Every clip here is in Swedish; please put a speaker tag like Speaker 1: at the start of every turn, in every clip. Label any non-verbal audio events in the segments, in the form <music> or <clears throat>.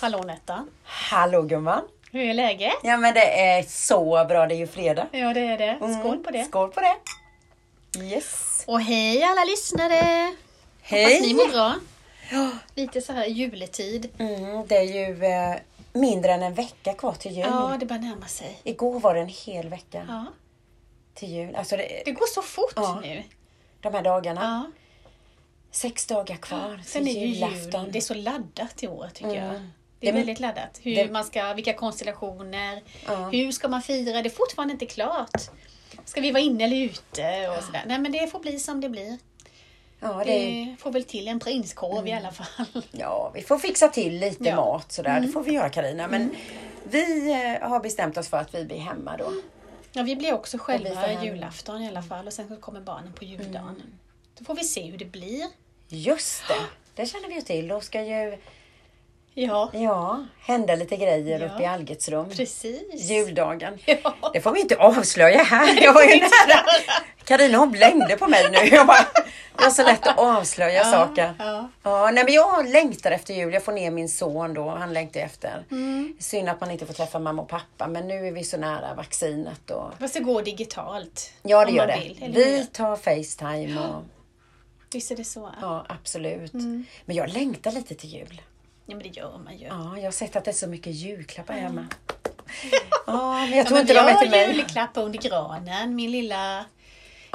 Speaker 1: Hallå Netta!
Speaker 2: Hallå gumman!
Speaker 1: Hur är läget?
Speaker 2: Ja men det är så bra, det är ju fredag.
Speaker 1: Ja, det är det.
Speaker 2: Mm,
Speaker 1: Skål på det!
Speaker 2: Skål på det! Yes!
Speaker 1: Och hej alla lyssnare! Hoppas ni mår bra. Lite så här juletid.
Speaker 2: Mm, det är ju eh, mindre än en vecka kvar till jul.
Speaker 1: Ja, det börjar närma sig.
Speaker 2: Igår var det en hel vecka
Speaker 1: Ja.
Speaker 2: till jul. Alltså det,
Speaker 1: Det går så fort
Speaker 2: Ja.
Speaker 1: nu.
Speaker 2: de här dagarna.
Speaker 1: Ja.
Speaker 2: Sex dagar kvar
Speaker 1: Sen är
Speaker 2: till
Speaker 1: ju
Speaker 2: julafton.
Speaker 1: jul. Det är så laddat i år tycker jag.
Speaker 2: Mm.
Speaker 1: Det är
Speaker 2: Det-
Speaker 1: väldigt laddat. Hur
Speaker 2: det-
Speaker 1: man ska, vilka konstellationer,
Speaker 2: Ja.
Speaker 1: hur ska man fira? Det är fortfarande inte klart. Ska vi vara inne eller ute? Och sådär. Nej, men det får bli som det blir.
Speaker 2: ja, det är,
Speaker 1: Det får väl till en prinskorv i alla fall.
Speaker 2: ja, vi får fixa till lite
Speaker 1: Ja. Mm.
Speaker 2: mat sådär. Det får vi göra Karina. Men vi eh, har bestämt oss för att vi blir hemma då.
Speaker 1: Ja, vi blir också
Speaker 2: vi får
Speaker 1: själva
Speaker 2: hem- Mm.
Speaker 1: julafton i alla fall och sen så kommer barnen på juldagen. Då får vi se hur det blir.
Speaker 2: Just det! Det känner vi ju till. Då ska ju
Speaker 1: Ja,
Speaker 2: Ja, hända lite grejer
Speaker 1: Ja.
Speaker 2: uppe i Algets rum.
Speaker 1: precis.
Speaker 2: Juldagen.
Speaker 1: Ja.
Speaker 2: Det får vi inte avslöja här. Det var ju nära. Karina hon blängde på mig nu. Jag bara, det var så lätt att avslöja saker.
Speaker 1: ja.
Speaker 2: Ja, nej men jag längtar efter jul. Jag får ner min son då. Han längtar efter.
Speaker 1: Mm.
Speaker 2: Synd att man inte får träffa mamma och pappa. Men nu är vi så nära vaccinet. Och...
Speaker 1: Fast det går digitalt.
Speaker 2: Ja,
Speaker 1: om
Speaker 2: det
Speaker 1: man
Speaker 2: gör det.
Speaker 1: Vill, eller
Speaker 2: vi
Speaker 1: vi...
Speaker 2: tar Facetime. Och...
Speaker 1: Visst är det så? Ja.
Speaker 2: Ja, absolut.
Speaker 1: Mm.
Speaker 2: Men jag längtar lite till jul.
Speaker 1: men det gör man ju.
Speaker 2: Ja, jag har sett att det är så mycket
Speaker 1: <laughs>
Speaker 2: julklappar hemma. Ja, men jag
Speaker 1: Ja,
Speaker 2: tror
Speaker 1: men
Speaker 2: inte
Speaker 1: vi
Speaker 2: de är till
Speaker 1: har
Speaker 2: mig.
Speaker 1: julklappar under granen. Min lilla,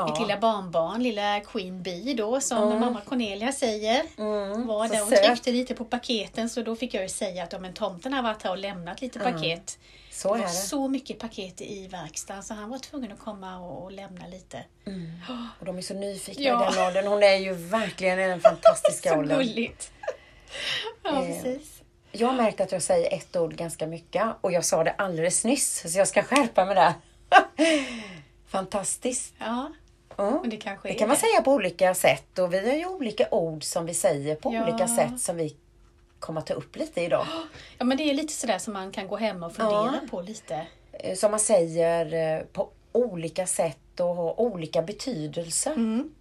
Speaker 1: Mitt lilla barnbarn, lilla Queen Bee då, som mamma Cornelia säger. var
Speaker 2: Mm. så
Speaker 1: där. Hon
Speaker 2: söt.
Speaker 1: tryckte lite på paketen så då fick jag ju säga att ja, men tomten har varit här och lämnat lite
Speaker 2: Mm.
Speaker 1: paket.
Speaker 2: Så
Speaker 1: Det
Speaker 2: är
Speaker 1: var
Speaker 2: det.
Speaker 1: så mycket paket i verkstaden så han var tvungen att komma och, och lämna lite.
Speaker 2: Och de är så nyfikna
Speaker 1: Ja.
Speaker 2: i den åldern. Hon är ju verkligen <laughs>
Speaker 1: <laughs>
Speaker 2: i Eh. den fantastiska
Speaker 1: Så
Speaker 2: åldern.
Speaker 1: gulligt! ja, precis.
Speaker 2: Jag har märkt att jag säger ett ord ganska mycket och jag sa det alldeles nyss så jag ska skärpa mig där. <laughs> Fantastiskt.
Speaker 1: Ja,
Speaker 2: Ja.
Speaker 1: men det kanske är
Speaker 2: Det kan man säga på olika sätt och vi har ju olika ord som vi säger på
Speaker 1: Ja.
Speaker 2: olika sätt som vi kommer ta upp lite idag.
Speaker 1: Ja, men det är lite sådär som man kan gå hem och fundera på lite.
Speaker 2: Eh, Som man säger eh, på olika sätt och har olika betydelser.
Speaker 1: Mm.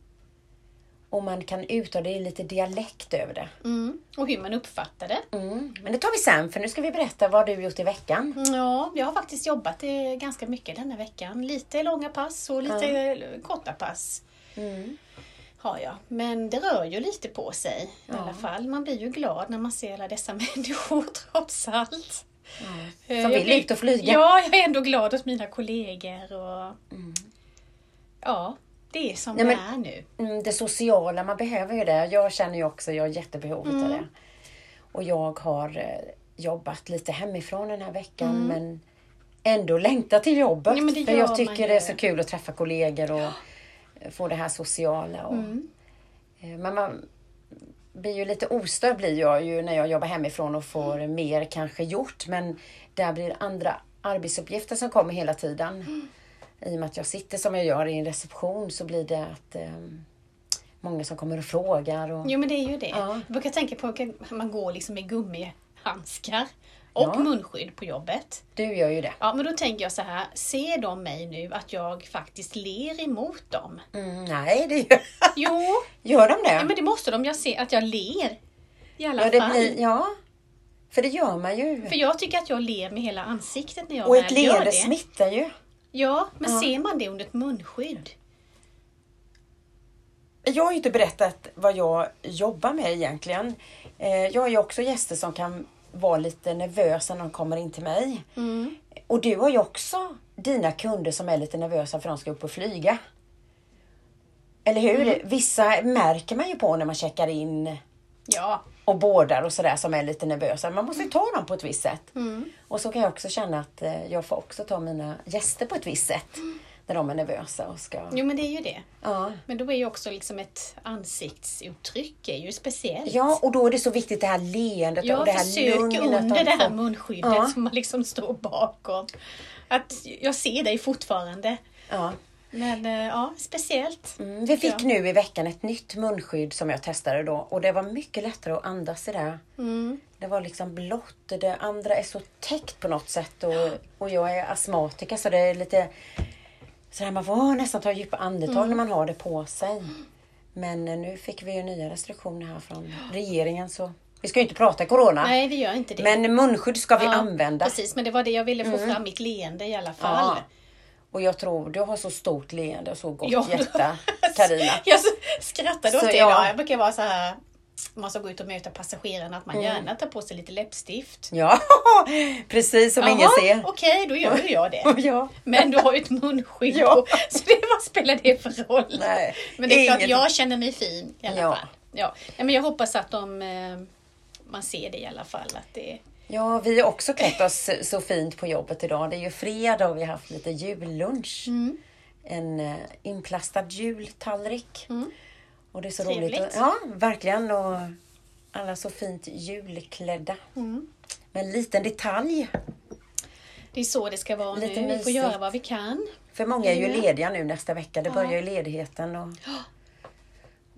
Speaker 2: Och man kan uttala det i lite dialekt över det.
Speaker 1: Mm. Och hur man uppfattar det.
Speaker 2: Mm. Men det tar vi sen, för nu ska vi berätta vad du gjort i veckan.
Speaker 1: Ja, jag har faktiskt jobbat eh, ganska mycket denna veckan. Lite långa pass och lite eh, korta pass. Har jag. Men det rör ju lite på sig i alla fall. Man blir ju glad när man ser alla dessa <laughs> människor trots allt. Eh,
Speaker 2: Som
Speaker 1: jag
Speaker 2: vill
Speaker 1: blir-
Speaker 2: ut och flyga. Mm.
Speaker 1: Ja, jag är ändå glad åt mina kollegor och ja, det är som
Speaker 2: Nej, men-
Speaker 1: det är nu.
Speaker 2: Mm, det sociala, man behöver ju det. Jag känner ju också, jag har jättebehovet
Speaker 1: Mm.
Speaker 2: av det. Och jag har eh, jobbat lite hemifrån den här veckan men ändå längtar till jobbet.
Speaker 1: Mm. Ja, men det
Speaker 2: för
Speaker 1: gör
Speaker 2: jag
Speaker 1: man
Speaker 2: tycker
Speaker 1: ju.
Speaker 2: det är så kul att träffa kollegor och få det här sociala. Och,
Speaker 1: Mm.
Speaker 2: Eh, Men man blir ju lite ostörd blir jag ju när jag jobbar hemifrån och får
Speaker 1: Mm.
Speaker 2: mer kanske gjort. Men där blir det andra arbetsuppgifter som kommer hela tiden.
Speaker 1: Mm.
Speaker 2: I och med att jag sitter som jag gör i en reception så blir det att eh, många som kommer och frågar. Och,
Speaker 1: Jo men det är ju det.
Speaker 2: Ja.
Speaker 1: Jag brukar tänka på att man går liksom med gummihandskar och
Speaker 2: Ja.
Speaker 1: munskydd på jobbet.
Speaker 2: Du gör ju det.
Speaker 1: Ja, men då tänker jag så här, ser de mig nu att jag faktiskt ler emot dem?
Speaker 2: Mm, nej, det gör, <laughs>
Speaker 1: Jo,
Speaker 2: gör de
Speaker 1: ja,
Speaker 2: det?
Speaker 1: men det måste de, jag ser att jag ler. I alla
Speaker 2: Ja, det
Speaker 1: fall.
Speaker 2: blir, ja, för det gör man ju.
Speaker 1: För jag tycker att jag ler med hela ansiktet när jag
Speaker 2: Och ett
Speaker 1: väl gör
Speaker 2: leende
Speaker 1: det.
Speaker 2: smittar ju.
Speaker 1: Ja, men ser man det under ett munskydd?
Speaker 2: Jag har ju inte berättat vad jag jobbar med egentligen. Eh, Jag har ju också gäster som kan vara lite nervösa när de kommer in till mig. Och du har ju också dina kunder som är lite nervösa för de ska upp och flyga. Eller hur? Vissa märker man ju på när man checkar in
Speaker 1: Ja,
Speaker 2: och bådar och sådär som är lite nervösa. Man måste ju ta dem på ett visst sätt. Och så kan jag också känna att eh, jag får också ta mina gäster på ett visst sätt. När de är nervösa och ska...
Speaker 1: jo men det är ju det.
Speaker 2: Ja.
Speaker 1: Men då är ju också liksom ett ansiktsuttryck är ju speciellt.
Speaker 2: Ja, och då är det så viktigt det här leendet och
Speaker 1: Jag
Speaker 2: det här
Speaker 1: försöker
Speaker 2: lugnet.
Speaker 1: under det här
Speaker 2: får-
Speaker 1: munskyddet
Speaker 2: Ja.
Speaker 1: som man liksom står bakom. Att jag ser dig fortfarande.
Speaker 2: ja.
Speaker 1: Men eh, ja, speciellt.
Speaker 2: mm, vi fick nu i veckan ett nytt munskydd som jag testade då och det var mycket lättare att andas i det.
Speaker 1: Mm.
Speaker 2: Det var liksom blått, det andra är så täckt på något sätt och, och jag är astmatiker så det är lite sådär man får nästan ta djupa andetag
Speaker 1: Mm.
Speaker 2: när man har det på sig. Men eh, nu fick vi ju nya restriktioner här från regeringen så Vi ska ju inte prata corona.
Speaker 1: Nej, vi gör inte det.
Speaker 2: Men munskydd ska vi
Speaker 1: Ja,
Speaker 2: använda.
Speaker 1: Precis, men det var det jag ville få fram, mitt leende i alla fall.
Speaker 2: Ja. Och jag tror du har så stort leende och så gott
Speaker 1: Ja. <laughs>
Speaker 2: hjärta, Karina.
Speaker 1: Jag skrattade åt
Speaker 2: Så
Speaker 1: det
Speaker 2: ja.
Speaker 1: idag. Jag brukar vara så här, man ska gå ut och möta passagerarna, att man
Speaker 2: Mm.
Speaker 1: gärna tar på sig lite läppstift.
Speaker 2: Ja, <laughs> precis som ingen
Speaker 1: Jaha,
Speaker 2: ser.
Speaker 1: okej, då gör ju jag det.
Speaker 2: Ja.
Speaker 1: Men du har ju ett munskydd
Speaker 2: Ja.
Speaker 1: på, så det, vad spelar det för roll?
Speaker 2: Nej,
Speaker 1: men det är klart,
Speaker 2: inget.
Speaker 1: jag känner mig fin i alla
Speaker 2: Ja.
Speaker 1: fall. Ja. Nej, men jag hoppas att de, eh, man ser det i alla fall. Att det,
Speaker 2: ja, vi har också klätt oss så fint på jobbet idag. Det är ju fredag och vi har haft lite jullunch.
Speaker 1: Mm.
Speaker 2: En eh, inplastad jultallrik. Och det är så roligt.
Speaker 1: Mm. Trevligt.
Speaker 2: att- Ja, verkligen. Och alla så fint julklädda.
Speaker 1: Mm.
Speaker 2: Men en liten detalj.
Speaker 1: det är så det ska vara
Speaker 2: Lite
Speaker 1: nu. Vi får
Speaker 2: mysigt.
Speaker 1: göra vad vi kan.
Speaker 2: För många är ju
Speaker 1: Mm.
Speaker 2: lediga nu nästa vecka. Det
Speaker 1: Ja.
Speaker 2: börjar ju ledigheten och, och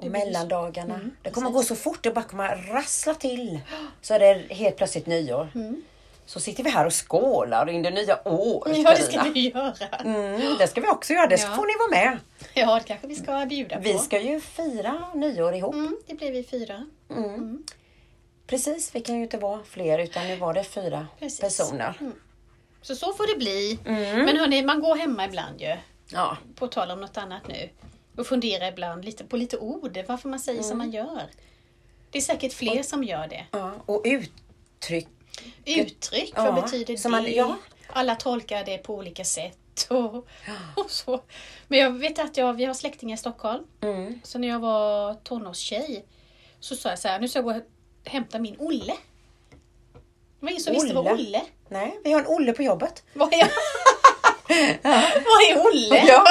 Speaker 1: Det blir ju så-
Speaker 2: mellandagarna.
Speaker 1: Mm,
Speaker 2: det kommer
Speaker 1: precis.
Speaker 2: gå så fort. Det bara kommer rassla till. Så är det helt plötsligt nyår.
Speaker 1: Mm.
Speaker 2: Så sitter vi här och skålar in det nya året.
Speaker 1: Ja, det ska
Speaker 2: Carina.
Speaker 1: vi göra.
Speaker 2: Mm, det ska vi också göra. Det
Speaker 1: Ja.
Speaker 2: får ni vara med.
Speaker 1: Ja, det kanske vi ska bjuda
Speaker 2: Vi
Speaker 1: på.
Speaker 2: ska ju fira nyår ihop.
Speaker 1: Mm, det blir vi fyra.
Speaker 2: Mm. Precis, vi kan ju inte vara fler utan nu var det fyra
Speaker 1: Precis. Mm.
Speaker 2: personer.
Speaker 1: Så så får det bli.
Speaker 2: Mm.
Speaker 1: Men hörni, man går hemma ibland ju.
Speaker 2: Ja.
Speaker 1: På tal om något annat nu. Och funderar ibland lite på lite ord, varför man säger
Speaker 2: Mm.
Speaker 1: som man gör. Det är säkert fler som gör det.
Speaker 2: ja. Och uttryck.
Speaker 1: Uttryck,
Speaker 2: Ja,
Speaker 1: vad betyder det?
Speaker 2: som man- ja.
Speaker 1: Alla tolkar det på olika sätt. Och, och så. Men jag vet att jag, vi har släktingar i Stockholm.
Speaker 2: Mm.
Speaker 1: Så när jag var tonårstjej så sa jag så här, nu ska jag gå och hämta min Olle. Det var ingen som visste vad
Speaker 2: Olle?
Speaker 1: Olle
Speaker 2: Nej, vi har en Olle på jobbet.
Speaker 1: Vad är, <laughs> vad är Olle?
Speaker 2: Ja.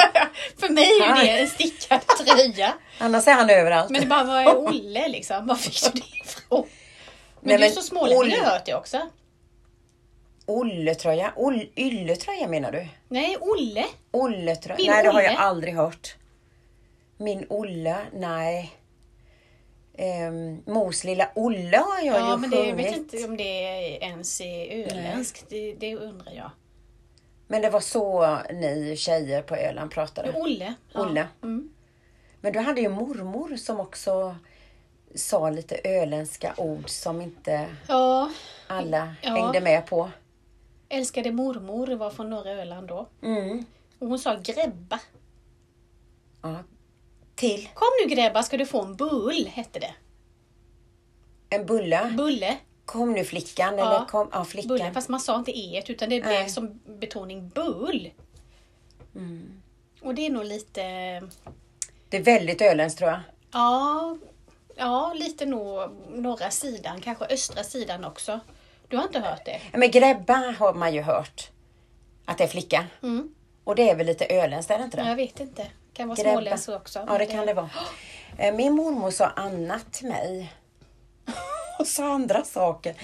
Speaker 1: För mig är ju det en stickad tröja.
Speaker 2: Annars är han överallt.
Speaker 1: Men det bara, vad är Olle liksom? Var fick
Speaker 2: <laughs>
Speaker 1: du det ifrån? Men
Speaker 2: Nej,
Speaker 1: du är
Speaker 2: men
Speaker 1: så smålänning, jag
Speaker 2: Olle.
Speaker 1: har hört det också.
Speaker 2: Olletröja? Oll, ylletröja menar du?
Speaker 1: Nej, Olle.
Speaker 2: Olletröja?
Speaker 1: Min
Speaker 2: Nej, det har jag
Speaker 1: Olle.
Speaker 2: aldrig hört. Min Olle? Nej. Ehm, Mos lilla Olle har jag
Speaker 1: Ja,
Speaker 2: ju
Speaker 1: men det, jag
Speaker 2: sjungit.
Speaker 1: vet inte om det är ens är öländskt. Det, det undrar jag.
Speaker 2: Men det var så ni tjejer på Öland pratade.
Speaker 1: Jo, Olle. Ja.
Speaker 2: Olle.
Speaker 1: Mm.
Speaker 2: Men du hade ju mormor som också sa lite öländska ord som inte
Speaker 1: ja,
Speaker 2: alla
Speaker 1: Ja.
Speaker 2: hängde med på.
Speaker 1: älskade mormor var från norra Öland då.
Speaker 2: Mm.
Speaker 1: Och hon sa gräbba.
Speaker 2: Ja. Till
Speaker 1: Kom nu gräbba ska du få en bull, hette det.
Speaker 2: en bulle.
Speaker 1: Bulle.
Speaker 2: Kom nu flickan.
Speaker 1: Ja.
Speaker 2: Eller kom, ja, flickan.
Speaker 1: Bullen, fast man sa inte e utan det blev
Speaker 2: Nej.
Speaker 1: som betoning bull.
Speaker 2: Mm.
Speaker 1: Och det är nog lite,
Speaker 2: Det är väldigt öländskt tror jag.
Speaker 1: ja, ja lite nog norra sidan, kanske östra sidan också. Du har inte hört det?
Speaker 2: Ja, Men gräbba har man ju hört att det är flicka.
Speaker 1: Mm.
Speaker 2: Och det är väl lite öländskt, är det inte det?
Speaker 1: Jag vet inte. Kan vara
Speaker 2: Gräbba.
Speaker 1: småländskt också.
Speaker 2: Ja, det kan det vara. Eh, Min mormor sa annat till mig. <laughs> Och sa andra saker.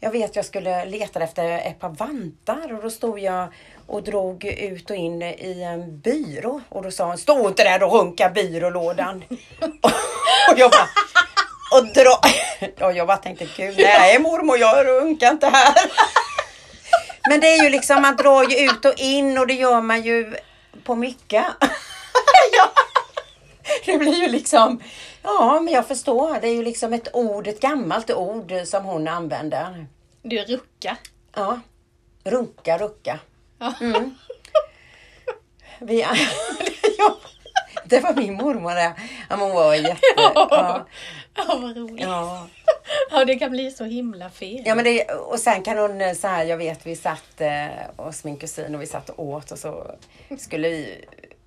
Speaker 2: Jag vet jag skulle leta efter ett par vantar och då stod jag och drog ut och in i en byrå och då sa hon Stå inte där och runka byrålådan. <laughs> och jag bara och dra... <laughs> Och jag bara tänkte gud nej mormor jag runkar inte här. <laughs> Men det är ju liksom man drar ju ut och in och det gör man ju på mycket. <laughs> Det blir ju liksom, ja men jag förstår. Det är ju liksom ett ord, ett gammalt ord som hon använder.
Speaker 1: Du är rucka.
Speaker 2: Ja, runka, rucka.
Speaker 1: Ja.
Speaker 2: Mm,
Speaker 1: <laughs>
Speaker 2: Vi, <laughs> ja, det var min mormor det. Ja, men hon var jätte...
Speaker 1: ja.
Speaker 2: Ja,
Speaker 1: vad roligt. Ja.
Speaker 2: ja.
Speaker 1: det kan bli så himla fel.
Speaker 2: ja men det, och sen kan hon eh, så här, jag vet vi satt eh, hos min kusin och vi satt och åt och så skulle vi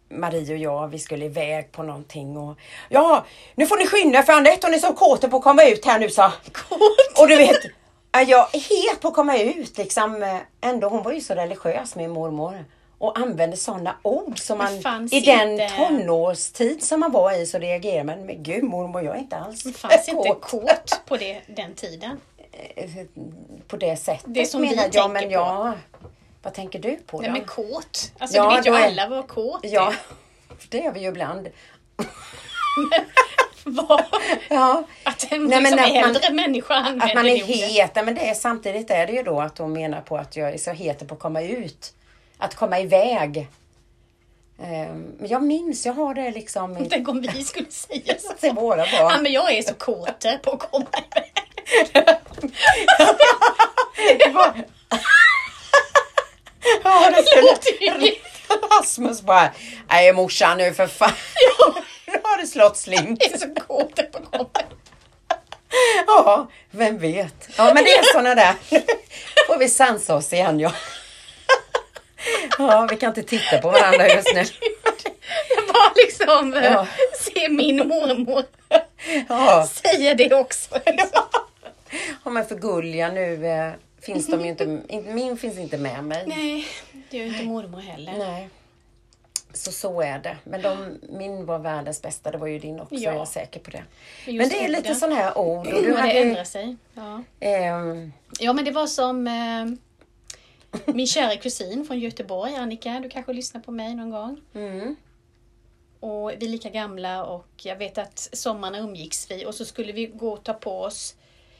Speaker 2: Marie och jag, vi skulle iväg på någonting och ja, nu får ni skynda er, för Anette hon är så kåt på att komma ut här nu sa
Speaker 1: Kort.
Speaker 2: Och du vet, ja, jag är helt på att komma ut liksom. eh, Ändå, hon var ju så religiös min mormor. Och använde sådana ord som
Speaker 1: Det
Speaker 2: man
Speaker 1: fanns
Speaker 2: i den
Speaker 1: inte-
Speaker 2: tonårstid som man var i så reagerade man. Men gud mormor, jag är inte alls
Speaker 1: Det fanns inte
Speaker 2: kåt
Speaker 1: kort på det, den tiden.
Speaker 2: på det sättet.
Speaker 1: Det som vi
Speaker 2: menar jag,
Speaker 1: tänker
Speaker 2: men
Speaker 1: på.
Speaker 2: ja, Vad tänker du på då?
Speaker 1: Nej men kåt. Alltså
Speaker 2: Ja,
Speaker 1: det vet ju
Speaker 2: då är-
Speaker 1: alla vad kåt är. <laughs>
Speaker 2: ja, <laughs> det gör vi ju ibland.
Speaker 1: Vad-
Speaker 2: Ja,
Speaker 1: Att en
Speaker 2: Nej, men
Speaker 1: liksom,
Speaker 2: att man-
Speaker 1: äldre människa använder
Speaker 2: att
Speaker 1: <laughs>
Speaker 2: man
Speaker 1: det
Speaker 2: är
Speaker 1: ordet.
Speaker 2: het. Nej, Men det är, samtidigt är det ju då att hon menar på att jag är så het på att komma ut. Att komma iväg. Ehm, Men jag minns, jag har det liksom i
Speaker 1: Tänk om vi skulle säga så.
Speaker 2: till våra
Speaker 1: Ja,
Speaker 2: barn.
Speaker 1: men jag är så kåt på att komma iväg.
Speaker 2: Det var... <laughs> Ja, det
Speaker 1: låter ju-
Speaker 2: skulle... <laughs> Rasmus bara, nej morsan nu för fan. <laughs> Nu har det slått slint.
Speaker 1: Det är så gott på kroppen.
Speaker 2: <laughs> Ja, vem vet. Ja, men det är såna där. <laughs> Får vi sansa oss igen ja. <laughs> Ja, vi kan inte titta på varandra just
Speaker 1: <laughs>
Speaker 2: nu.
Speaker 1: Jag bara liksom eh,
Speaker 2: Ja.
Speaker 1: ser min mormor
Speaker 2: Ja,
Speaker 1: säga det
Speaker 2: <laughs>
Speaker 1: också.
Speaker 2: ja men för Gulja nu eh, finns de ju inte, inte, min finns inte med mig.
Speaker 1: Nej, det gör ju inte mormor heller.
Speaker 2: Nej. Så så är det. Men de, min var världens bästa, det var ju din också,
Speaker 1: Ja.
Speaker 2: jag är säker på det.
Speaker 1: Just
Speaker 2: men det är lite
Speaker 1: orden.
Speaker 2: sådana här ord. Och
Speaker 1: Du
Speaker 2: du
Speaker 1: det ändrar
Speaker 2: hade,
Speaker 1: sig. Ja.
Speaker 2: ehm,
Speaker 1: ja, men det var som eh, min kära kusin från Göteborg, Annika, du kanske lyssnar på mig någon gång.
Speaker 2: mm,
Speaker 1: Och vi är lika gamla och jag vet att sommarna umgicks vi och så skulle vi gå och ta på oss.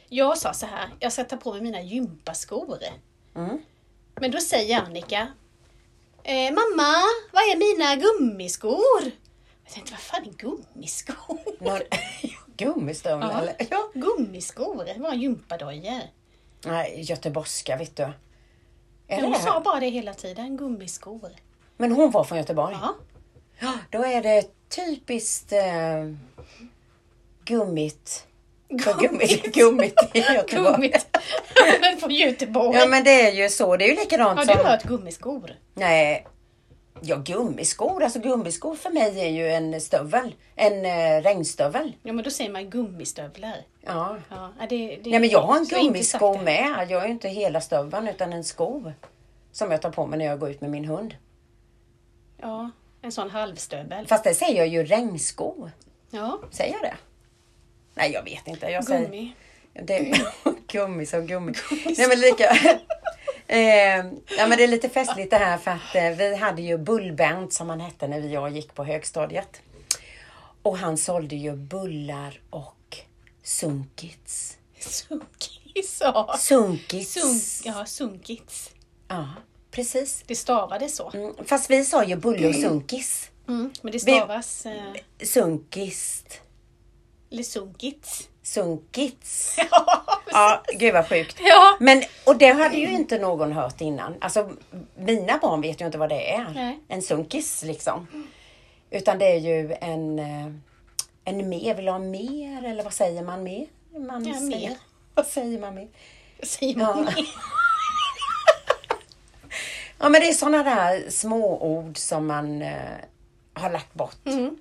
Speaker 1: Jag sa så här, jag ska ta på mig mina gympaskor.
Speaker 2: mm.
Speaker 1: Men då säger Annika, eh, mamma, vad är mina gummiskor? Jag tänkte, vad fan är gummiskor? <laughs>
Speaker 2: Någon, <laughs> gummistövlar
Speaker 1: Ja.
Speaker 2: eller? Ja.
Speaker 1: Gummiskor, det var gympadojor.
Speaker 2: Nej, göteborgska vet du. Är
Speaker 1: Men
Speaker 2: det
Speaker 1: Hon
Speaker 2: det?
Speaker 1: sa bara det hela tiden, gummiskor.
Speaker 2: Men hon var från Göteborg?
Speaker 1: Ja.
Speaker 2: Ja, då är det typiskt eh, gummigt. För <laughs> gummigt, gummigt i Göteborg.
Speaker 1: <laughs> Gummit. Men från Göteborg.
Speaker 2: Ja men alltså. det är ju så, det är ju likadant
Speaker 1: Har du
Speaker 2: som...
Speaker 1: hört gummiskor?
Speaker 2: Nej. Ja gummiskor, alltså gummiskor för mig är ju en stövel. En eh, regnstövel.
Speaker 1: Ja men då säger man gummistövlar.
Speaker 2: Ja.
Speaker 1: Ja, ja, det, det
Speaker 2: Nej men jag har en
Speaker 1: så enkelt sagt
Speaker 2: gummisko
Speaker 1: det.
Speaker 2: med. Jag har ju inte hela stöveln utan en sko. Som jag tar på mig när jag går ut med min hund.
Speaker 1: Ja, en sån halvstövel.
Speaker 2: Fast det säger jag ju regnsko.
Speaker 1: Ja,
Speaker 2: Säger jag det? Nej jag vet inte. Jag säger...
Speaker 1: gummi.
Speaker 2: Det, <laughs> gummi som gummi. Nej men lika. <laughs> eh, ja, men det är lite festligt det här för att eh, vi hade ju bullband som han hette när vi och jag gick på högstadiet. Och han sålde ju bullar och sunkits.
Speaker 1: Sunkis
Speaker 2: Ah,
Speaker 1: sa.
Speaker 2: Sunkits.
Speaker 1: Sunk, ja, sunkits.
Speaker 2: Ja, precis.
Speaker 1: Det stavades så.
Speaker 2: Mm, Fast vi sa ju bulle och sunkis.
Speaker 1: Mm. Men det stavas... Eh,
Speaker 2: Sunkist.
Speaker 1: eller
Speaker 2: <laughs>
Speaker 1: sunkits.
Speaker 2: Sunkits.
Speaker 1: Ja,
Speaker 2: Ja, gud vad sjukt.
Speaker 1: ja.
Speaker 2: Men, och det hade ju inte någon hört innan. Alltså, mina barn vet ju inte vad det är.
Speaker 1: Nej.
Speaker 2: En sunkis liksom. Utan det är ju en, eh, en mer, vill ha mer eller vad säger man mer? Man
Speaker 1: Ja,
Speaker 2: säger,
Speaker 1: mer.
Speaker 2: <laughs> Vad säger man mer?
Speaker 1: Säger
Speaker 2: Ja.
Speaker 1: man mer?
Speaker 2: Ja men det är sådana där små ord som man eh, har lagt bort.
Speaker 1: Mm.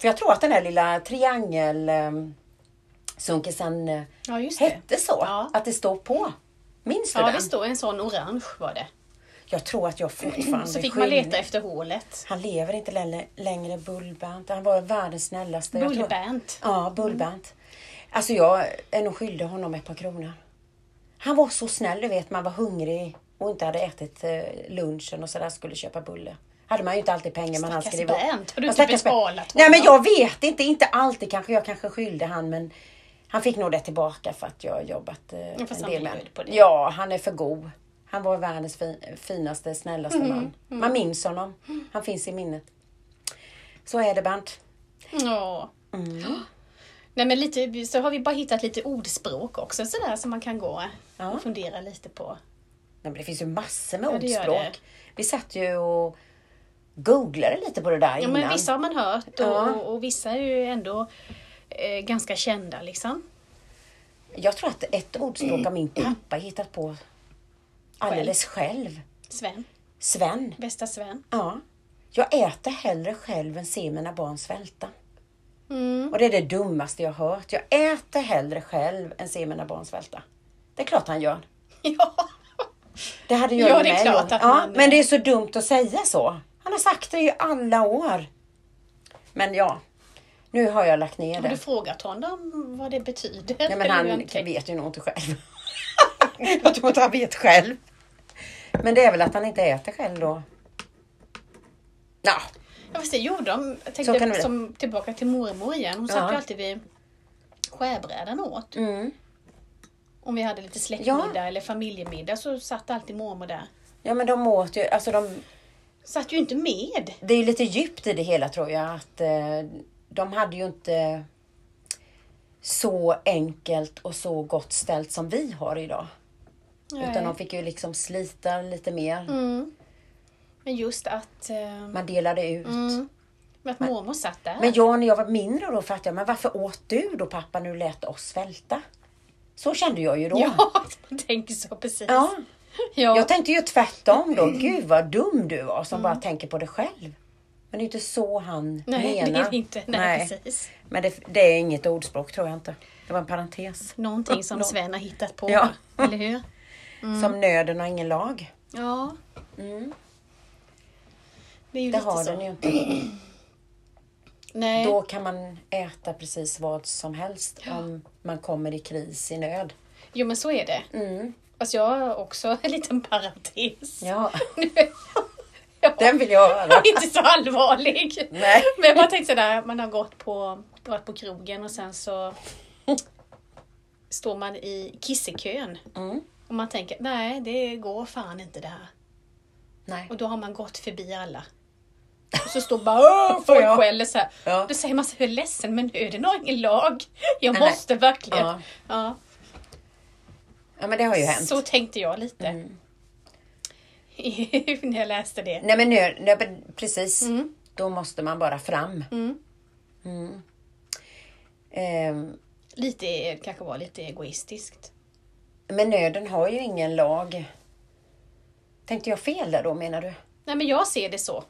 Speaker 2: För jag tror att den där lilla triangel eh, sunkisen eh,
Speaker 1: Ja, just det.
Speaker 2: hette så.
Speaker 1: Ja.
Speaker 2: Att det står på. Minns du
Speaker 1: Ja,
Speaker 2: den?
Speaker 1: det står en sån orange var det.
Speaker 2: Jag tror att jag
Speaker 1: <clears throat>
Speaker 2: fortfarande
Speaker 1: Så fick man
Speaker 2: skymmer-
Speaker 1: leta efter hålet.
Speaker 2: Han lever inte längre, längre Bullbant. Han var världens snällaste. Jag tror-
Speaker 1: Bullbant.
Speaker 2: Ja, Bullbant. Alltså jag är nog skyldig honom ett par kronor. Han var så snäll, du vet man var hungrig och inte hade ätit eh, lunchen och sådär skulle köpa bulle. Hade man ju inte alltid pengar men han
Speaker 1: Stackars
Speaker 2: skrev
Speaker 1: Bernt, har du
Speaker 2: Ja,
Speaker 1: inte
Speaker 2: stackars Bernt.
Speaker 1: betalat
Speaker 2: Nej men jag
Speaker 1: honom?
Speaker 2: vet inte, inte alltid kanske. Jag kanske skyllde han men han fick nog det tillbaka för att jag har jobbat eh, en
Speaker 1: fast han
Speaker 2: del med
Speaker 1: bjöd på det.
Speaker 2: Ja, han är för god. Han var världens fi- finaste, snällaste
Speaker 1: Mm,
Speaker 2: man. Man minns honom. Han finns i minnet. Så är det Bernt.
Speaker 1: Ja.
Speaker 2: Mm.
Speaker 1: Nej men lite, så har vi bara hittat lite ordspråk också sådär som man kan gå
Speaker 2: Ja.
Speaker 1: och fundera lite på.
Speaker 2: Nej, men det finns ju massor med
Speaker 1: Ja, det gör det.
Speaker 2: ordspråk. Vi satt ju och googlade lite på det där
Speaker 1: Ja,
Speaker 2: innan.
Speaker 1: men vissa har man hört och,
Speaker 2: Ja.
Speaker 1: och, och vissa är ju ändå eh, ganska kända liksom.
Speaker 2: Jag tror att ett ordspråk har min pappa hittat på alldeles själv.
Speaker 1: Sven,
Speaker 2: Sven.
Speaker 1: bästa Sven.
Speaker 2: Ja. Jag äter hellre själv än ser mina barn svälta.
Speaker 1: Mm.
Speaker 2: Och det är det dummaste jag har hört. Jag äter hellre själv än ser mina barn svälta. Det är klart han gör.
Speaker 1: <laughs> Ja.
Speaker 2: Det hade jag
Speaker 1: Ja,
Speaker 2: ju
Speaker 1: det är
Speaker 2: med
Speaker 1: klart
Speaker 2: då.
Speaker 1: att
Speaker 2: ja,
Speaker 1: man-
Speaker 2: Men det är så dumt att säga så. Han har sagt det i alla år. Men ja, nu har jag lagt ner
Speaker 1: Har du
Speaker 2: det.
Speaker 1: frågat honom vad det betyder?
Speaker 2: Nej, men
Speaker 1: Eller
Speaker 2: han
Speaker 1: hur tänker?
Speaker 2: vet ju nog inte själv. <laughs> jag tror inte han vet själv. Men det är väl att han inte äter själv då. Ja,
Speaker 1: Ja, fast det gjorde de. Jag
Speaker 2: Så kan det
Speaker 1: tänkte
Speaker 2: bli.
Speaker 1: som, tillbaka till mormor igen. Hon
Speaker 2: Ja.
Speaker 1: satt ju alltid vid skärbrädan och åt.
Speaker 2: mm.
Speaker 1: Om vi hade lite släktmiddag eller familjemiddag så satt alltid mormor där.
Speaker 2: ja men de åt ju, alltså de,
Speaker 1: Satt ju inte med.
Speaker 2: det är ju lite djupt i det hela tror jag. Att eh, de hade ju inte så enkelt och så gott ställt som vi har idag.
Speaker 1: Nej.
Speaker 2: Utan de fick ju liksom slita lite mer.
Speaker 1: Mm. Men just att, eh,
Speaker 2: Man delade ut.
Speaker 1: mm, med att mormor satt där.
Speaker 2: Men jag när jag var mindre då fattade jag, men varför åt du då pappa när du lät oss svälta? Så kände jag ju
Speaker 1: <laughs>
Speaker 2: då.
Speaker 1: Ja, man tänker så precis.
Speaker 2: Ja.
Speaker 1: Ja.
Speaker 2: Jag tänkte ju tvärtom då. Gud vad dum du var som bara tänker på dig själv. Men det är inte så han
Speaker 1: Mm. Nej, det
Speaker 2: menar.
Speaker 1: är det inte. Nej,
Speaker 2: Nej.
Speaker 1: precis.
Speaker 2: Men det, det är inget ordspråk tror jag inte. Det var en parentes.
Speaker 1: Någonting som Sven har hittat på,
Speaker 2: Ja.
Speaker 1: eller hur? Mm.
Speaker 2: Som nöden har ingen lag.
Speaker 1: Ja. Det är ju
Speaker 2: Mm. Det
Speaker 1: lite
Speaker 2: har
Speaker 1: så.
Speaker 2: den ju inte.
Speaker 1: Nej.
Speaker 2: Då kan man äta precis vad som helst om man kommer i kris, i nöd.
Speaker 1: Jo, men så är det.
Speaker 2: Mm.
Speaker 1: Fast jag har också en liten parentes.
Speaker 2: Ja,
Speaker 1: <laughs>
Speaker 2: <laughs>
Speaker 1: Nu-
Speaker 2: den vill jag höra.
Speaker 1: Jag är inte så allvarlig.
Speaker 2: Nej.
Speaker 1: Men jag bara tänkte sådär, man har gått på, varit på krogen och sen så står man i kissekön.
Speaker 2: Mm.
Speaker 1: Och man tänker, nej det går fan inte det här.
Speaker 2: Nej.
Speaker 1: Och då har man gått förbi <laughs> alla. Och så står bara "Åh, folk
Speaker 2: Ja.
Speaker 1: skäller så här.
Speaker 2: Ja.
Speaker 1: Då säger man så här, jag är ledsen men nöden har ingen lag. Jag
Speaker 2: Nej, nej.
Speaker 1: måste verkligen.
Speaker 2: Ja.
Speaker 1: Ja.
Speaker 2: ja, men det har ju hänt.
Speaker 1: Så tänkte jag lite. <laughs> När jag läste det.
Speaker 2: Nej men nu, nej, men precis. Då måste man bara fram.
Speaker 1: Mm.
Speaker 2: Mm. Ehm,
Speaker 1: Lite, kanske var lite egoistiskt.
Speaker 2: men nöden har ju ingen lag. Tänkte jag fel där då menar du?
Speaker 1: Nej men jag ser det så.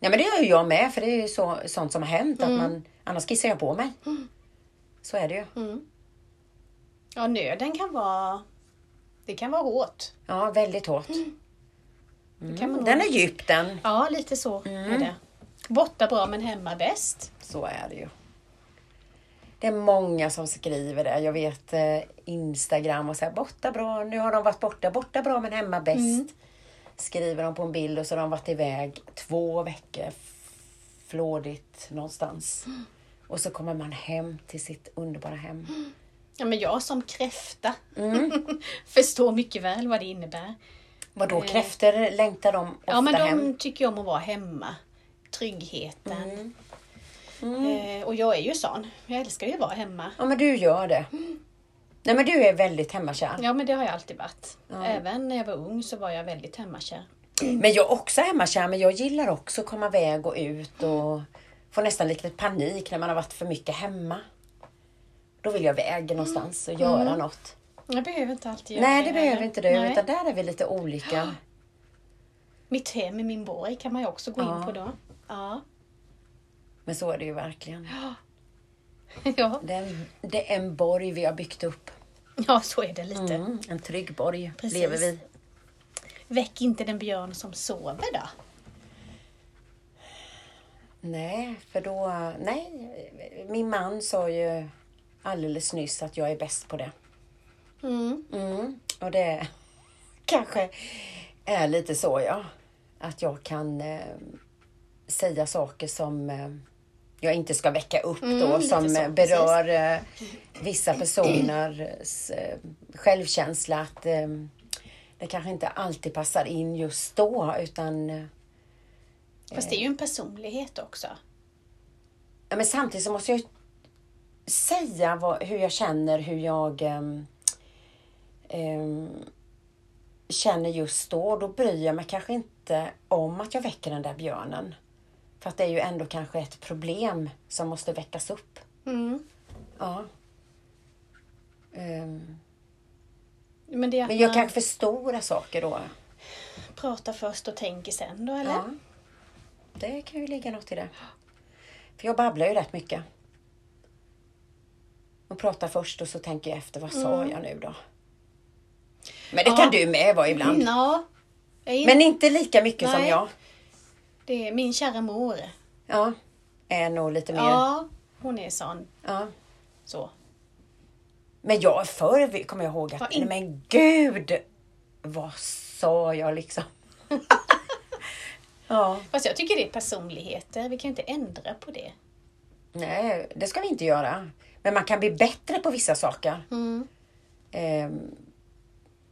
Speaker 2: Nej men det gör ju jag med för det är ju så, sånt som har hänt.
Speaker 1: Mm.
Speaker 2: Att man, annars kissar jag på mig. Så är det ju.
Speaker 1: Mm. Ja, nöden kan vara... Det kan vara hårt.
Speaker 2: Ja, väldigt hårt. Mm.
Speaker 1: Det Mm, kan man nog-
Speaker 2: Den är djup den.
Speaker 1: Ja, lite så är det. Borta bra men hemma bäst.
Speaker 2: Så är det ju. Det är många som skriver det. Jag vet eh, Instagram och så här, borta bra, nu har de varit borta, borta bra men hemma bäst.
Speaker 1: Mm.
Speaker 2: Skriver de på en bild och så har de varit iväg två veckor f- flådigt någonstans.
Speaker 1: Mm.
Speaker 2: Och så kommer man hem till sitt underbara hem.
Speaker 1: Ja, men jag som kräfta
Speaker 2: Mm.
Speaker 1: <laughs> förstår mycket väl vad det innebär.
Speaker 2: Vadå kräftor längtar de ofta
Speaker 1: Ja, men de
Speaker 2: hem?
Speaker 1: tycker ju om att vara hemma. Tryggheten.
Speaker 2: Mm.
Speaker 1: Eh, och jag är ju sån. Jag älskar ju att vara hemma.
Speaker 2: Ja men du gör det. Nej men du är väldigt hemmakär.
Speaker 1: Ja, men det har jag alltid varit. Även när jag var ung så var jag väldigt hemmakär.
Speaker 2: Men jag är också hemmakär, men jag gillar också att komma iväg och ut och får nästan lite panik när man har varit för mycket hemma. Då vill jag iväg någonstans och göra något.
Speaker 1: Mm. Jag behöver inte alltid göra
Speaker 2: Nej, det behöver inte du,
Speaker 1: Nej.
Speaker 2: utan där är vi lite olika.
Speaker 1: Mitt hem i min borg kan man ju också gå in på då. Ja. <laughs>
Speaker 2: Men så är det ju verkligen.
Speaker 1: ja.
Speaker 2: Det är, en, det är en borg vi har byggt upp.
Speaker 1: Ja, så är det lite.
Speaker 2: Mm, en trygg borg
Speaker 1: Precis.
Speaker 2: lever vi.
Speaker 1: Väck inte den björn som sover då.
Speaker 2: Nej, för då... Nej, min man sa ju alldeles nyss att jag är bäst på det.
Speaker 1: Mm.
Speaker 2: Mm, och det <laughs> kanske är lite så ja. Att jag kan eh, säga saker som eh, jag inte ska väcka upp då.
Speaker 1: Mm, lite
Speaker 2: Som
Speaker 1: så,
Speaker 2: eh, berör eh, vissa personers eh, självkänsla. Att eh, det kanske inte alltid passar in just då. Utan, eh,
Speaker 1: Fast det är ju en personlighet också.
Speaker 2: ja, men samtidigt så måste jag ju säga vad, hur jag känner, hur jag ehm, ehm, känner just då, då bryr jag mig kanske inte om att jag väcker den där björnen. För att det är ju ändå kanske ett problem som måste väckas upp.
Speaker 1: Mm.
Speaker 2: Ja. Ehm,
Speaker 1: Men det är att
Speaker 2: men jag
Speaker 1: man
Speaker 2: kanske förstorar saker då.
Speaker 1: pratar först och tänker sen då, eller?
Speaker 2: Ja.
Speaker 1: Ja.
Speaker 2: Det kan ju ligga något i det. För jag babblar ju rätt mycket. Och pratar först och så tänker jag efter, vad sa jag nu då? Men
Speaker 1: Mm.
Speaker 2: det
Speaker 1: Ja.
Speaker 2: kan du med vara ibland.
Speaker 1: Jag är in...
Speaker 2: Men inte lika mycket som
Speaker 1: Nej.
Speaker 2: jag.
Speaker 1: det är min kära mor.
Speaker 2: Ja. Är nog lite mer. Ja.
Speaker 1: Ja, hon är sån. Så.
Speaker 2: Men jag förr kommer jag ihåg att,
Speaker 1: Ja,
Speaker 2: nej
Speaker 1: in-
Speaker 2: men gud! Vad sa jag liksom?
Speaker 1: <laughs>
Speaker 2: ja.
Speaker 1: Fast jag tycker det är personligheter. Vi kan ju inte ändra på det.
Speaker 2: Nej, det ska vi inte göra. Men man kan bli bättre på vissa saker.
Speaker 1: Mm.
Speaker 2: Ehm,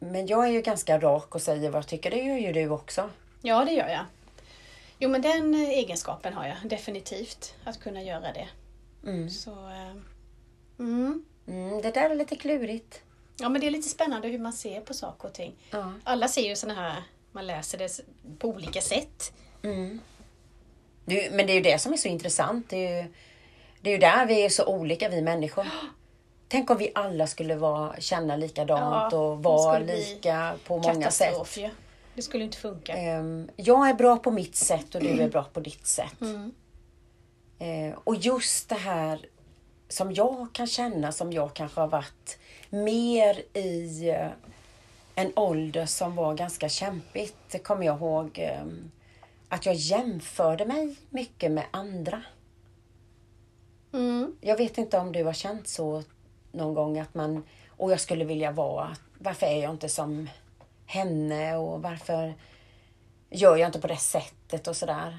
Speaker 2: men jag är ju ganska rak och säger vad jag tycker. Det gör ju du också.
Speaker 1: Ja, det gör jag. Jo, men den eh, egenskapen har jag definitivt. Att kunna göra det. Så, eh, Mm.
Speaker 2: Mm, det där är lite klurigt.
Speaker 1: Ja, men det är lite spännande hur man ser på saker och ting.
Speaker 2: Ja.
Speaker 1: Alla ser ju sådana här, man läser det på olika sätt.
Speaker 2: Mm. Det är ju- men det är ju det som är så intressant. Det är, ju, det är ju där vi är så olika, vi människor. Tänk om vi alla skulle vara, känna likadant
Speaker 1: Ja,
Speaker 2: och
Speaker 1: det
Speaker 2: vara
Speaker 1: skulle bli
Speaker 2: lika på många sätt.
Speaker 1: Katastrof ju. Det skulle inte funka.
Speaker 2: Ehm, jag är bra på mitt sätt och du är bra på ditt sätt. Eh, och just det här som jag kan känna som jag kanske har varit mer i eh, en ålder som var ganska kämpigt. Det kommer jag ihåg ehm, att jag jämförde mig mycket med andra.
Speaker 1: Mm.
Speaker 2: Jag vet inte om du har känt så någon gång att man, och jag skulle vilja vara, varför är jag inte som henne och varför gör jag inte på det sättet och sådär.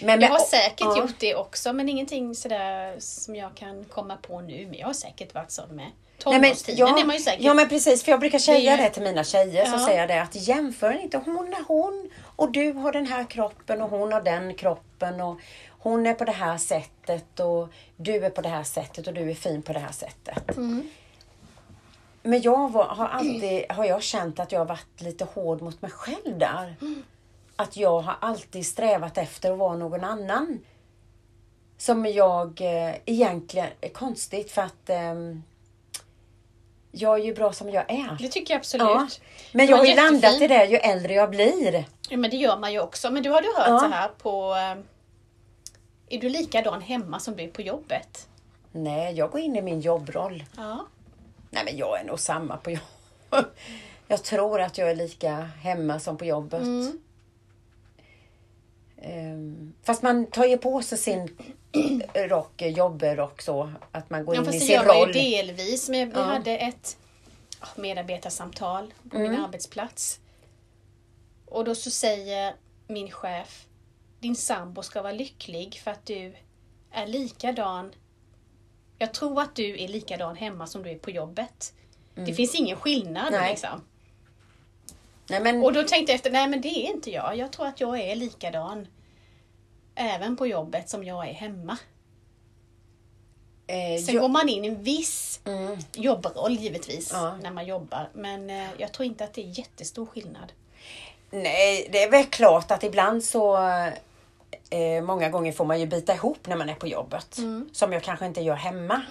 Speaker 2: Men,
Speaker 1: Jag
Speaker 2: men-
Speaker 1: har säkert
Speaker 2: ja,
Speaker 1: gjort det också, men ingenting sådär som jag kan komma på nu. Men jag har säkert varit sån med.
Speaker 2: Nej, men,
Speaker 1: Tonårstiden
Speaker 2: ja,
Speaker 1: är man ju säkert.
Speaker 2: ja men precis, för jag brukar
Speaker 1: Det
Speaker 2: säga
Speaker 1: är
Speaker 2: det,
Speaker 1: ju-
Speaker 2: till mina tjejer. Så
Speaker 1: Ja.
Speaker 2: säger jag det att jämför inte, hon är hon och du har den här kroppen och hon har den kroppen och hon är på det här sättet och du är på det här sättet och du är fin på det här sättet.
Speaker 1: Mm.
Speaker 2: Men jag var, har alltid har jag känt att jag har varit lite hård mot mig själv där. Att jag har alltid strävat efter att vara någon annan. Som jag eh, egentligen är konstigt för att ehm, jag är ju bra som jag är.
Speaker 1: Det tycker jag absolut.
Speaker 2: Ja. Men
Speaker 1: Du
Speaker 2: jag
Speaker 1: är
Speaker 2: har ju landat i
Speaker 1: jättefin.
Speaker 2: det ju äldre jag blir.
Speaker 1: Ja, men det gör man ju också. Men du har du hört
Speaker 2: Ja.
Speaker 1: så här på... eh, Är du likadan hemma som du är på jobbet?
Speaker 2: Nej, jag går in i min jobbroll.
Speaker 1: Ja.
Speaker 2: Nej, men jag är nog samma på jobbet. <laughs> Jag tror att jag är lika hemma som på jobbet.
Speaker 1: Mm.
Speaker 2: Ehm, fast man tar ju på sig sin <clears throat> rock, jobbrock så. Att man går
Speaker 1: ja
Speaker 2: in i
Speaker 1: fast det
Speaker 2: sin
Speaker 1: gör man
Speaker 2: roll.
Speaker 1: ju delvis. Men vi
Speaker 2: Ja.
Speaker 1: hade ett ah, medarbetarsamtal på
Speaker 2: Mm.
Speaker 1: min arbetsplats. Och då så säger min chef Din sambo ska vara lycklig för att du är likadan Jag tror att du är likadan hemma som du är på jobbet. Det finns ingen skillnad
Speaker 2: Mm. Nej. Mm.
Speaker 1: liksom.
Speaker 2: Nej, men,
Speaker 1: Och då tänkte jag efter, nej men det är inte jag. Jag tror att jag är likadan även på jobbet som jag är hemma.
Speaker 2: eh,
Speaker 1: Sen
Speaker 2: jag,
Speaker 1: går man in i en viss
Speaker 2: mm,
Speaker 1: jobbroll givetvis
Speaker 2: Ja.
Speaker 1: när man jobbar. Men eh, jag tror inte att det är jättestor skillnad.
Speaker 2: nej, det är väl klart att ibland så eh, många gånger får man ju bita ihop när man är på jobbet.
Speaker 1: Mm.
Speaker 2: Som jag kanske inte gör hemma.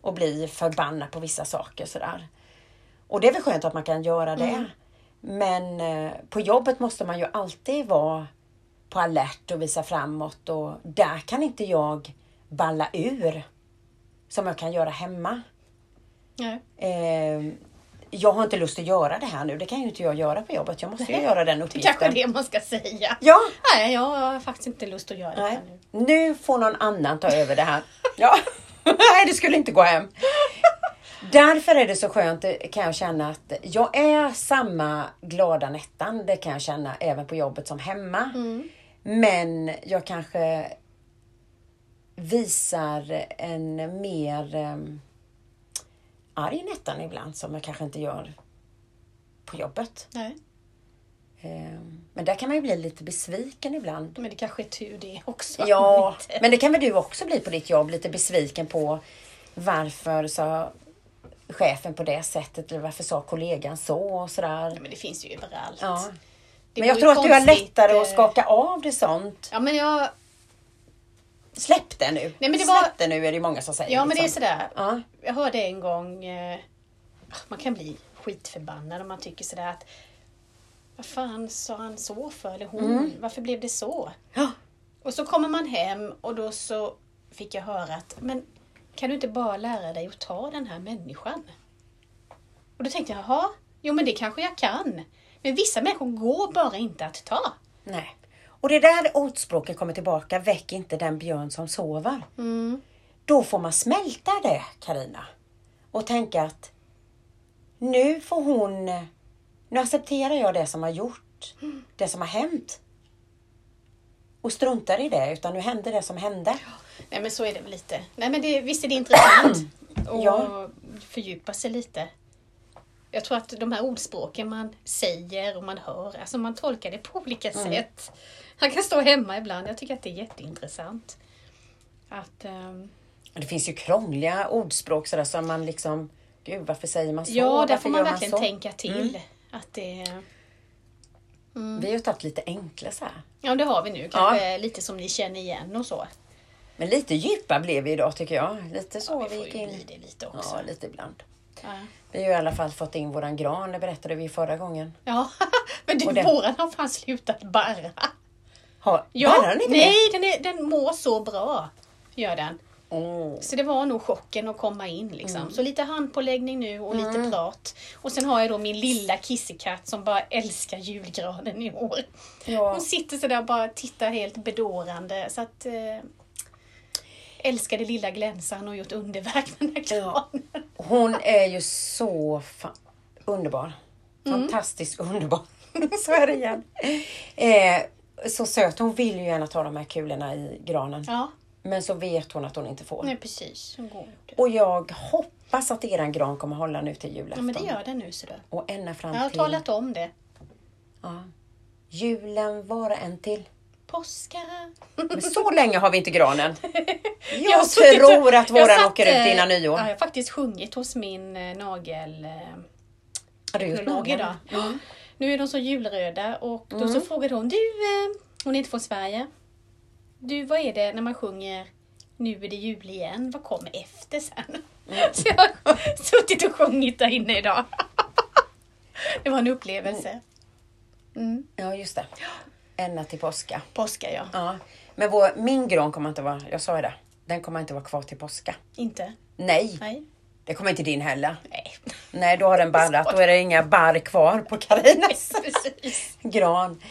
Speaker 2: Och bli förbannad på vissa saker sådär. Och det är väl skönt att man kan göra det.
Speaker 1: Mm.
Speaker 2: Men eh, på jobbet måste man ju alltid vara på alert och visa framåt och där kan inte jag balla ur som jag kan göra hemma.
Speaker 1: Nej.
Speaker 2: Eh, jag har inte lust att göra det här nu, det kan ju inte jag göra på jobbet. Jag måste ju
Speaker 1: Nej,
Speaker 2: göra den
Speaker 1: Det är kanske är
Speaker 2: uppgiften.
Speaker 1: det man ska säga.
Speaker 2: Ja,
Speaker 1: Nej, jag har faktiskt inte lust att göra det
Speaker 2: nej.
Speaker 1: här nu.
Speaker 2: Nu får någon annan ta över det här. <laughs> Ja. nej, det skulle inte gå hem. Därför är det så skönt det kan jag känna att jag är samma glada Nettan, det kan jag känna även på jobbet som hemma.
Speaker 1: Mm.
Speaker 2: Men jag kanske visar en mer um, arg Nettan ibland som jag kanske inte gör på jobbet.
Speaker 1: Nej,
Speaker 2: Ehm, men där kan man ju bli lite besviken ibland.
Speaker 1: men det kanske är tur det också. <laughs>
Speaker 2: Ja,
Speaker 1: Inte.
Speaker 2: men det kan väl du också bli på ditt jobb, lite besviken på varför sa chefen på det sättet eller varför sa kollegan så och sådär.
Speaker 1: Ja, men det finns ju överallt.
Speaker 2: Ja.
Speaker 1: Det
Speaker 2: Men jag
Speaker 1: vore
Speaker 2: tror att du har
Speaker 1: konstigt,
Speaker 2: lättare att
Speaker 1: eh,
Speaker 2: skaka av det sånt.
Speaker 1: Ja, men jag...
Speaker 2: Släpp det nu!
Speaker 1: men det var-
Speaker 2: Släpp det nu är det många som säger.
Speaker 1: Ja, men det är
Speaker 2: liksom.
Speaker 1: sådär.
Speaker 2: Ja.
Speaker 1: Jag hörde en gång, eh, man kan bli skitförbannad om man tycker sådär att vad fan sa han så för? Eller hon,
Speaker 2: Mm.
Speaker 1: varför blev det så?
Speaker 2: Ja.
Speaker 1: Och så kommer man hem och då så fick jag höra att men kan du inte bara lära dig att ta den här människan? Och då tänkte jag, jaha, jo men det kanske jag kan. Men vissa människor går bara inte att ta.
Speaker 2: Nej. Och det där ordspråket kommer tillbaka, väck inte den björn som sover.
Speaker 1: Mm.
Speaker 2: Då får man smälta det, Karina. Och tänka att nu får hon, nu accepterar jag det som har gjort, det som har hänt. Och struntar i det, utan nu hände det som hände.
Speaker 1: Nej men så är det väl lite. Nej men det, visst är det intressant att
Speaker 2: Ja.
Speaker 1: fördjupa sig lite. Jag tror att de här ordspråken man säger och man hör, alltså man tolkar det på olika sätt. Han kan stå hemma ibland. Jag tycker att det är jätteintressant. Att, ehm,
Speaker 2: Det finns ju krångliga ordspråk sådär som man liksom, gud varför säger man så?
Speaker 1: Ja, där
Speaker 2: Varför
Speaker 1: får man
Speaker 2: gör
Speaker 1: verkligen
Speaker 2: så? Mm.
Speaker 1: tänka till. Att det, Mm.
Speaker 2: Vi har ju tagit lite enkla så här.
Speaker 1: ja, det har vi nu. Kanske lite som ni känner igen och så.
Speaker 2: Men lite djupa blev vi idag tycker jag. Lite så
Speaker 1: Vi
Speaker 2: vi
Speaker 1: får ju
Speaker 2: gick
Speaker 1: bli
Speaker 2: in.
Speaker 1: det lite också.
Speaker 2: Ja, lite ibland.
Speaker 1: Ja,
Speaker 2: Vi har ju i alla fall fått in våran gran, det berättade vi förra gången.
Speaker 1: ja. <laughs> men du,
Speaker 2: Och den-
Speaker 1: våran har fan slutat barra.
Speaker 2: Har,
Speaker 1: Ja,
Speaker 2: bärrar den inte
Speaker 1: nej, den, är, den mår så bra. Gör den.
Speaker 2: det? Åh.
Speaker 1: Så det var nog chocken att komma in liksom.
Speaker 2: Mm.
Speaker 1: Så lite handpåläggning nu och lite prat. Och sen har jag då min lilla kissekatt som bara älskar julgranen i år.
Speaker 2: Ja.
Speaker 1: Hon sitter sådär och bara tittar helt bedårande. Så att eh, älskade lilla glänsan och gjort underverk med den här
Speaker 2: Ja.
Speaker 1: granen.
Speaker 2: Hon är ju så fa- underbar.
Speaker 1: Mm.
Speaker 2: Fantastiskt <laughs> underbar. så är det igen. Eh, så söt. Hon vill ju gärna ta de här kulorna i granen.
Speaker 1: Ja,
Speaker 2: Men så vet hon att hon inte får.
Speaker 1: nej precis. Hon går inte.
Speaker 2: Och jag hoppas att eran gran kommer hålla nu till
Speaker 1: Ja
Speaker 2: julafton.
Speaker 1: men det gör den nu sådär.
Speaker 2: Och ända fram
Speaker 1: Jag har
Speaker 2: till
Speaker 1: talat om det.
Speaker 2: ja. julen vara en till.
Speaker 1: Påskar.
Speaker 2: Men så länge har vi
Speaker 1: <laughs>
Speaker 2: inte granen. Jag,
Speaker 1: har suttit och-
Speaker 2: tror att
Speaker 1: jag
Speaker 2: våran
Speaker 1: satt,
Speaker 2: åker ut
Speaker 1: eh,
Speaker 2: innan nyår.
Speaker 1: Ja, jag har faktiskt sjungit hos min eh, nagel... Eh,
Speaker 2: Har du gjort
Speaker 1: teknolog
Speaker 2: någon?
Speaker 1: idag. Mm. Nu är de så julröda och då
Speaker 2: Mm.
Speaker 1: så frågade hon, du, eh, hon är inte från Sverige. Du, vad är det när man sjunger Nu är det jul igen, vad kommer efter sen?
Speaker 2: Mm.
Speaker 1: <laughs> Så jag har suttit och sjungit där inne idag. <laughs> Det var en upplevelse. Mm.
Speaker 2: Ja, just det. Ända till påska.
Speaker 1: Påskar jag.
Speaker 2: Ja, men vår, min gran kommer inte vara, jag sa ju det, den kommer inte vara kvar till påska.
Speaker 1: Inte?
Speaker 2: Nej,
Speaker 1: Nej.
Speaker 2: det kommer inte din heller.
Speaker 1: Nej.
Speaker 2: <laughs> Nej, då har den barrat, då är det inga barr kvar på Karinas
Speaker 1: <laughs> Precis.
Speaker 2: gran.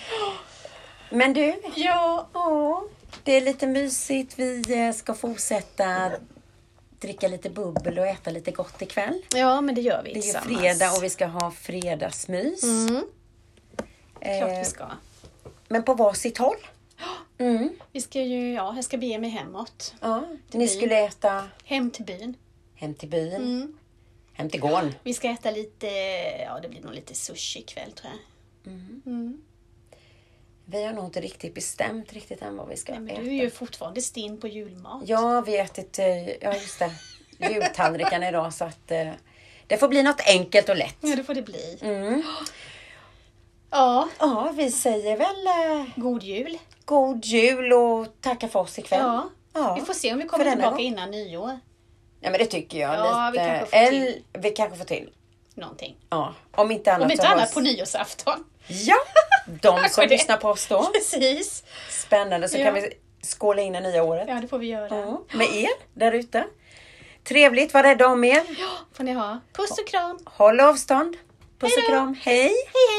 Speaker 2: Men du,
Speaker 1: Ja.
Speaker 2: ja, det är lite mysigt. Vi eh, ska fortsätta dricka lite bubbel och äta lite gott ikväll.
Speaker 1: ja, men det gör vi
Speaker 2: Det är ju
Speaker 1: tillsammans.
Speaker 2: fredag och vi ska ha fredagsmys.
Speaker 1: Mm, klart
Speaker 2: Eh,
Speaker 1: vi ska.
Speaker 2: men på
Speaker 1: <gasps>
Speaker 2: varsitt håll. Mm,
Speaker 1: Vi ska ju, ja, jag ska bege mig hemåt.
Speaker 2: ja. Ni skulle äta
Speaker 1: Hem till byn.
Speaker 2: hem till byn,
Speaker 1: Mm.
Speaker 2: hem till gården.
Speaker 1: Vi ska äta lite, ja det blir nog lite sushi ikväll tror jag. Mm.
Speaker 2: Vi har nog inte riktigt bestämt riktigt än vad vi ska
Speaker 1: Nej, men
Speaker 2: äta.
Speaker 1: du är ju fortfarande stinn på julmat.
Speaker 2: Ja, vi har ätit, eh, ja just det, jultallriken idag så att eh, det får bli något enkelt och lätt.
Speaker 1: Ja, det får det bli.
Speaker 2: Mm.
Speaker 1: Ja,
Speaker 2: Ja, vi säger väl eh,
Speaker 1: god jul.
Speaker 2: god jul och tackar för oss ikväll.
Speaker 1: Ja.
Speaker 2: Ja.
Speaker 1: Vi får se om vi
Speaker 2: För
Speaker 1: kommer
Speaker 2: denna
Speaker 1: tillbaka
Speaker 2: gång.
Speaker 1: innan nyår.
Speaker 2: ja, men det tycker jag.
Speaker 1: Ja, vi
Speaker 2: lite.
Speaker 1: kanske får
Speaker 2: Eller- Vi kanske får till.
Speaker 1: Någonting.
Speaker 2: Ja, om inte annat
Speaker 1: Om inte
Speaker 2: så
Speaker 1: annat
Speaker 2: hörs-
Speaker 1: på nyårsafton. <laughs>
Speaker 2: Ja, de
Speaker 1: Kanske
Speaker 2: som
Speaker 1: det.
Speaker 2: lyssnar på oss då.
Speaker 1: Precis.
Speaker 2: Spännande, så
Speaker 1: Ja.
Speaker 2: kan vi skåla in det nya året.
Speaker 1: Ja, det får vi göra.
Speaker 2: Ja, Med er där ute. Trevligt, var rädda om er.
Speaker 1: Ja, får ni ha. Puss och kram.
Speaker 2: Håll avstånd. Puss
Speaker 1: Hej
Speaker 2: och
Speaker 1: då.
Speaker 2: kram. Hej!
Speaker 1: Hej, hej.